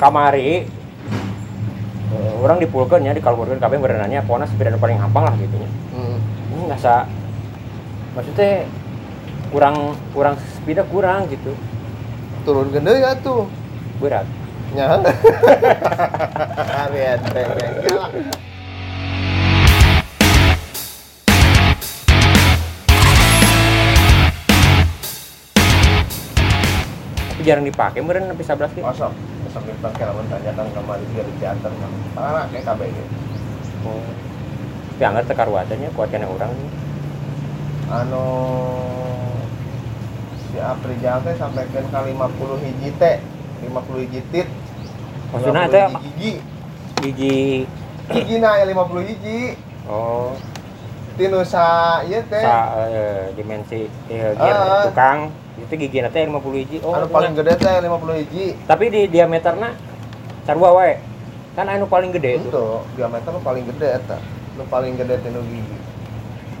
kamari eh, orang dipulkeun nya dikalburkeun kabeh berenanya pokona sepeda paling gampang lah gitu nya. Hmm. Ini nggak sa maksudnya kurang kurang sepeda kurang gitu turun gede ya tuh berat nya Arian, teh, teh. Nyala. tapi jarang dipakai meren sampai 11 gitu. Masuk. Besok kita kelawan tanyakan ke Malaysia di Ciantar. Anak kayak KB ini. Oh. Tapi anggar tekar wajannya kuat kena orang nih. Anu si Apri Jal teh sampai ke 50 hiji teh 50 hiji tit Maksudnya 50 teh hiji gigi gigi gigi nah ya 50 hiji oh tinusa iya teh sa eh, dimensi eh, gear Ah. tukang itu gigi nanti 50 hiji oh anu punya. paling gede teh 50 hiji tapi di diameternya carwa wae kan anu paling gede itu itu diameter lu paling gede eta lu paling gede tinu gigi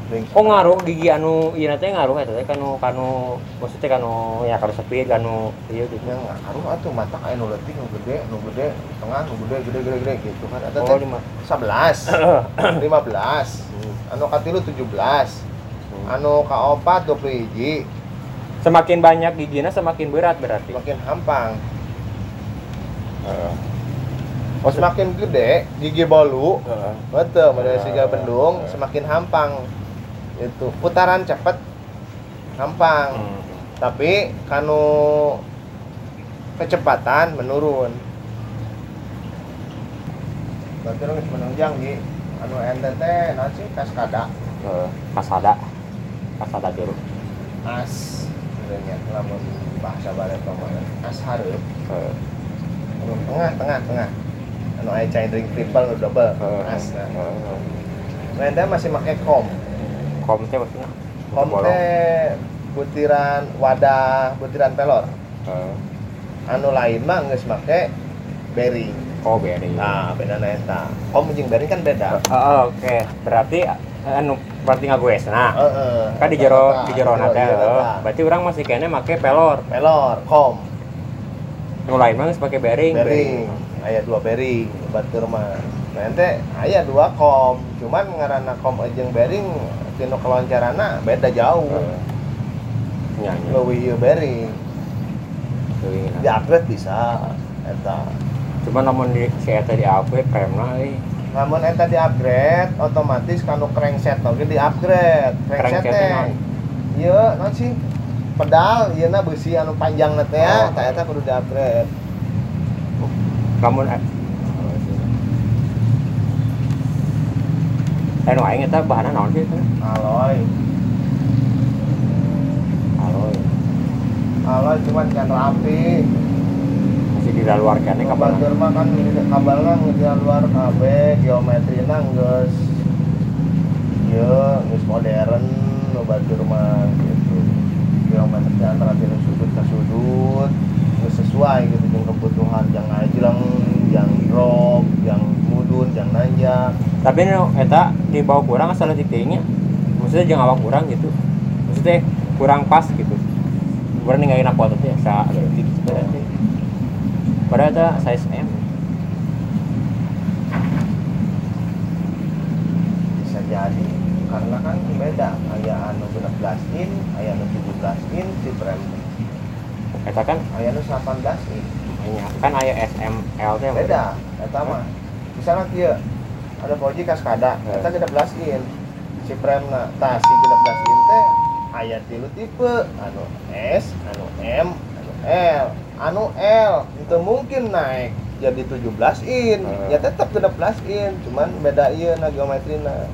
Ding. oh ngaruh gigi anu ieu teh ngaruh eta teh kanu kanu maksudnya kanu ya kanu sepi kanu ieu gitu yang ngaruh atuh mata kain nu leutik nu gede nu gede nu tengah nu gede gede gede gede gitu kan eta oh teh lima Hmm. 11 15 anu katilu 17 anu kaopat 20 hiji semakin banyak giginya semakin berat berarti makin hampang oh semakin semakin gede gigi bolu betul pada siga bendung semakin hampang itu putaran cepet Hmm. hampang tapi kanu kecepatan menurun berarti lu geus menang janji anu NTT nanti kaskada Hmm. kasada kasada jeruk as sebenarnya lamun bahasa barat pamana as hareup anu tengah tengah tengah anu aya cai drink triple nu double as nah Wenda masih pakai kom kom teh maksudnya kom teh butiran wadah butiran pelor Heeh. anu lain mah nggak make bearing oh bearing nah beda eta kom jeung bearing kan beda Oh, oke berarti anu berarti nggak gue nah Heeh. kan di jero di jero Eta, nada oh. iya, eta. berarti orang masih kayaknya make pelor pelor kom nu lain mah geus pakai bearing bearing aya dua bearing batur mah nah ente aya dua kom cuman ngaranna kom jeung bearing tinu keloncarana beda jauh Heeh. nyanyi leuwih ieu bearing Teuing. di upgrade bisa eta cuma namun di si eta di upgrade frame lah euy. namun eta di upgrade otomatis kanu crankset oge di upgrade crankset Crankset teh naon? ieu naon sih pedal ieu na beusi anu panjang na teh Oh. ya tah eta kudu di upgrade namun eh, eh nu aing eta bahanna naon sih eta? aloy Alloy. aloy cuman kan rapi masih di luar kana Ini kapan kabar mah kan kabarna di luar KB, geometrina geus ieu geus modern nu batur mah gitu. Geometri antara tilu sudut ke sudut geus sesuai gitu jeung kebutuhan yang ajleng, yang drop, yang mudun, yang nanjak. tapi nu eta di bawah kurang asal di tinggi maksudnya jangan awak kurang gitu maksudnya kurang pas gitu kurang ninggalin aku atau ya sa leutik berarti padahal eta size M bisa jadi karena kan beda aya anu 16 in, aya anu 17 in si frame, eta kan aya anu 18 in. hanya kan aya SML teh beda eta mah misalnya dia ada boji kaskada Eh. eta kita in si premna tah si kita in teh aya tilu tipe anu S anu M anu L anu L itu mungkin naik jadi 17 in Eh. ya tetap 16 in cuman beda iya na geometrina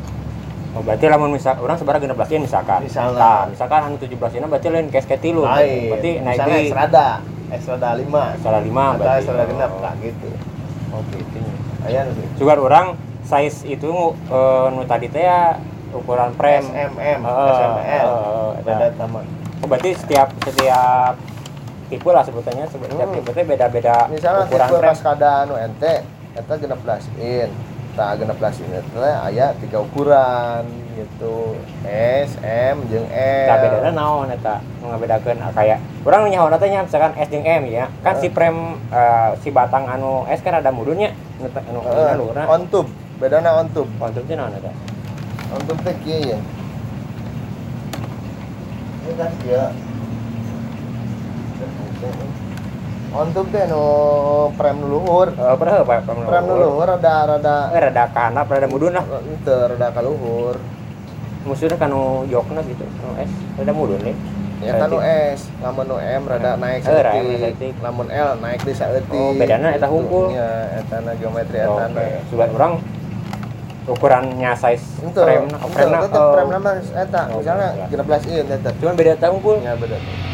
Oh, berarti lamun misal orang sebarang 16 belas misalkan. Misalnya. Nah, misalkan anu 17 belas berarti lain case kayak tilu. lain Berarti naik misalnya di S rada S rada 5 salah 5 atau berarti. S rada genap Oh, lah gitu Oh, gitu. aya nu gitu. Juga orang size itu eh, nu tadi teh ya ukuran S frame. M M Heeh, S M L heeh, eta. beda taman Oh, berarti setiap setiap tipe lah sebutannya sebe- setiap Hmm. tipe teh beda-beda misalnya ukuran tipe frame. pas kada anu ente eta 16 in eta genep belas ini teh aya tiga ukuran gitu S M jeung L Tak bedana naon eta nu ngabedakeun ah, kayak urang nu nyaho teh nya misalkan S jeung M ya. Kan Hmm. si frame eh, si batang anu S kan ada mudunnya nu te- anu, nu Heeh, luhurna. Hmm. on tube bedana on tube Kontur teh naon eta? on tube teh kieu ya ini kan kieu on tube teh nu frame nu luhur Eh padahal Pak frame frame nu luhur rada rada Eh rada kana rada mudun lah. itu rada ka luhur Musuhna kan nu jokna gitu. Nu S rada mudun nih. ya kan nu S lamun nu M rada Eh, naik rada saeutik naik. lamun L naik di saeutik Oh, bedana eta hukum. ya etana geometri Oke, etana sudah orang ukurannya size Itu, frame na- oh, frame na- tetap oh. frame nama eta, Oh, misalnya betul. 16 in tetap. Cuman beda tahun pun Ya benar.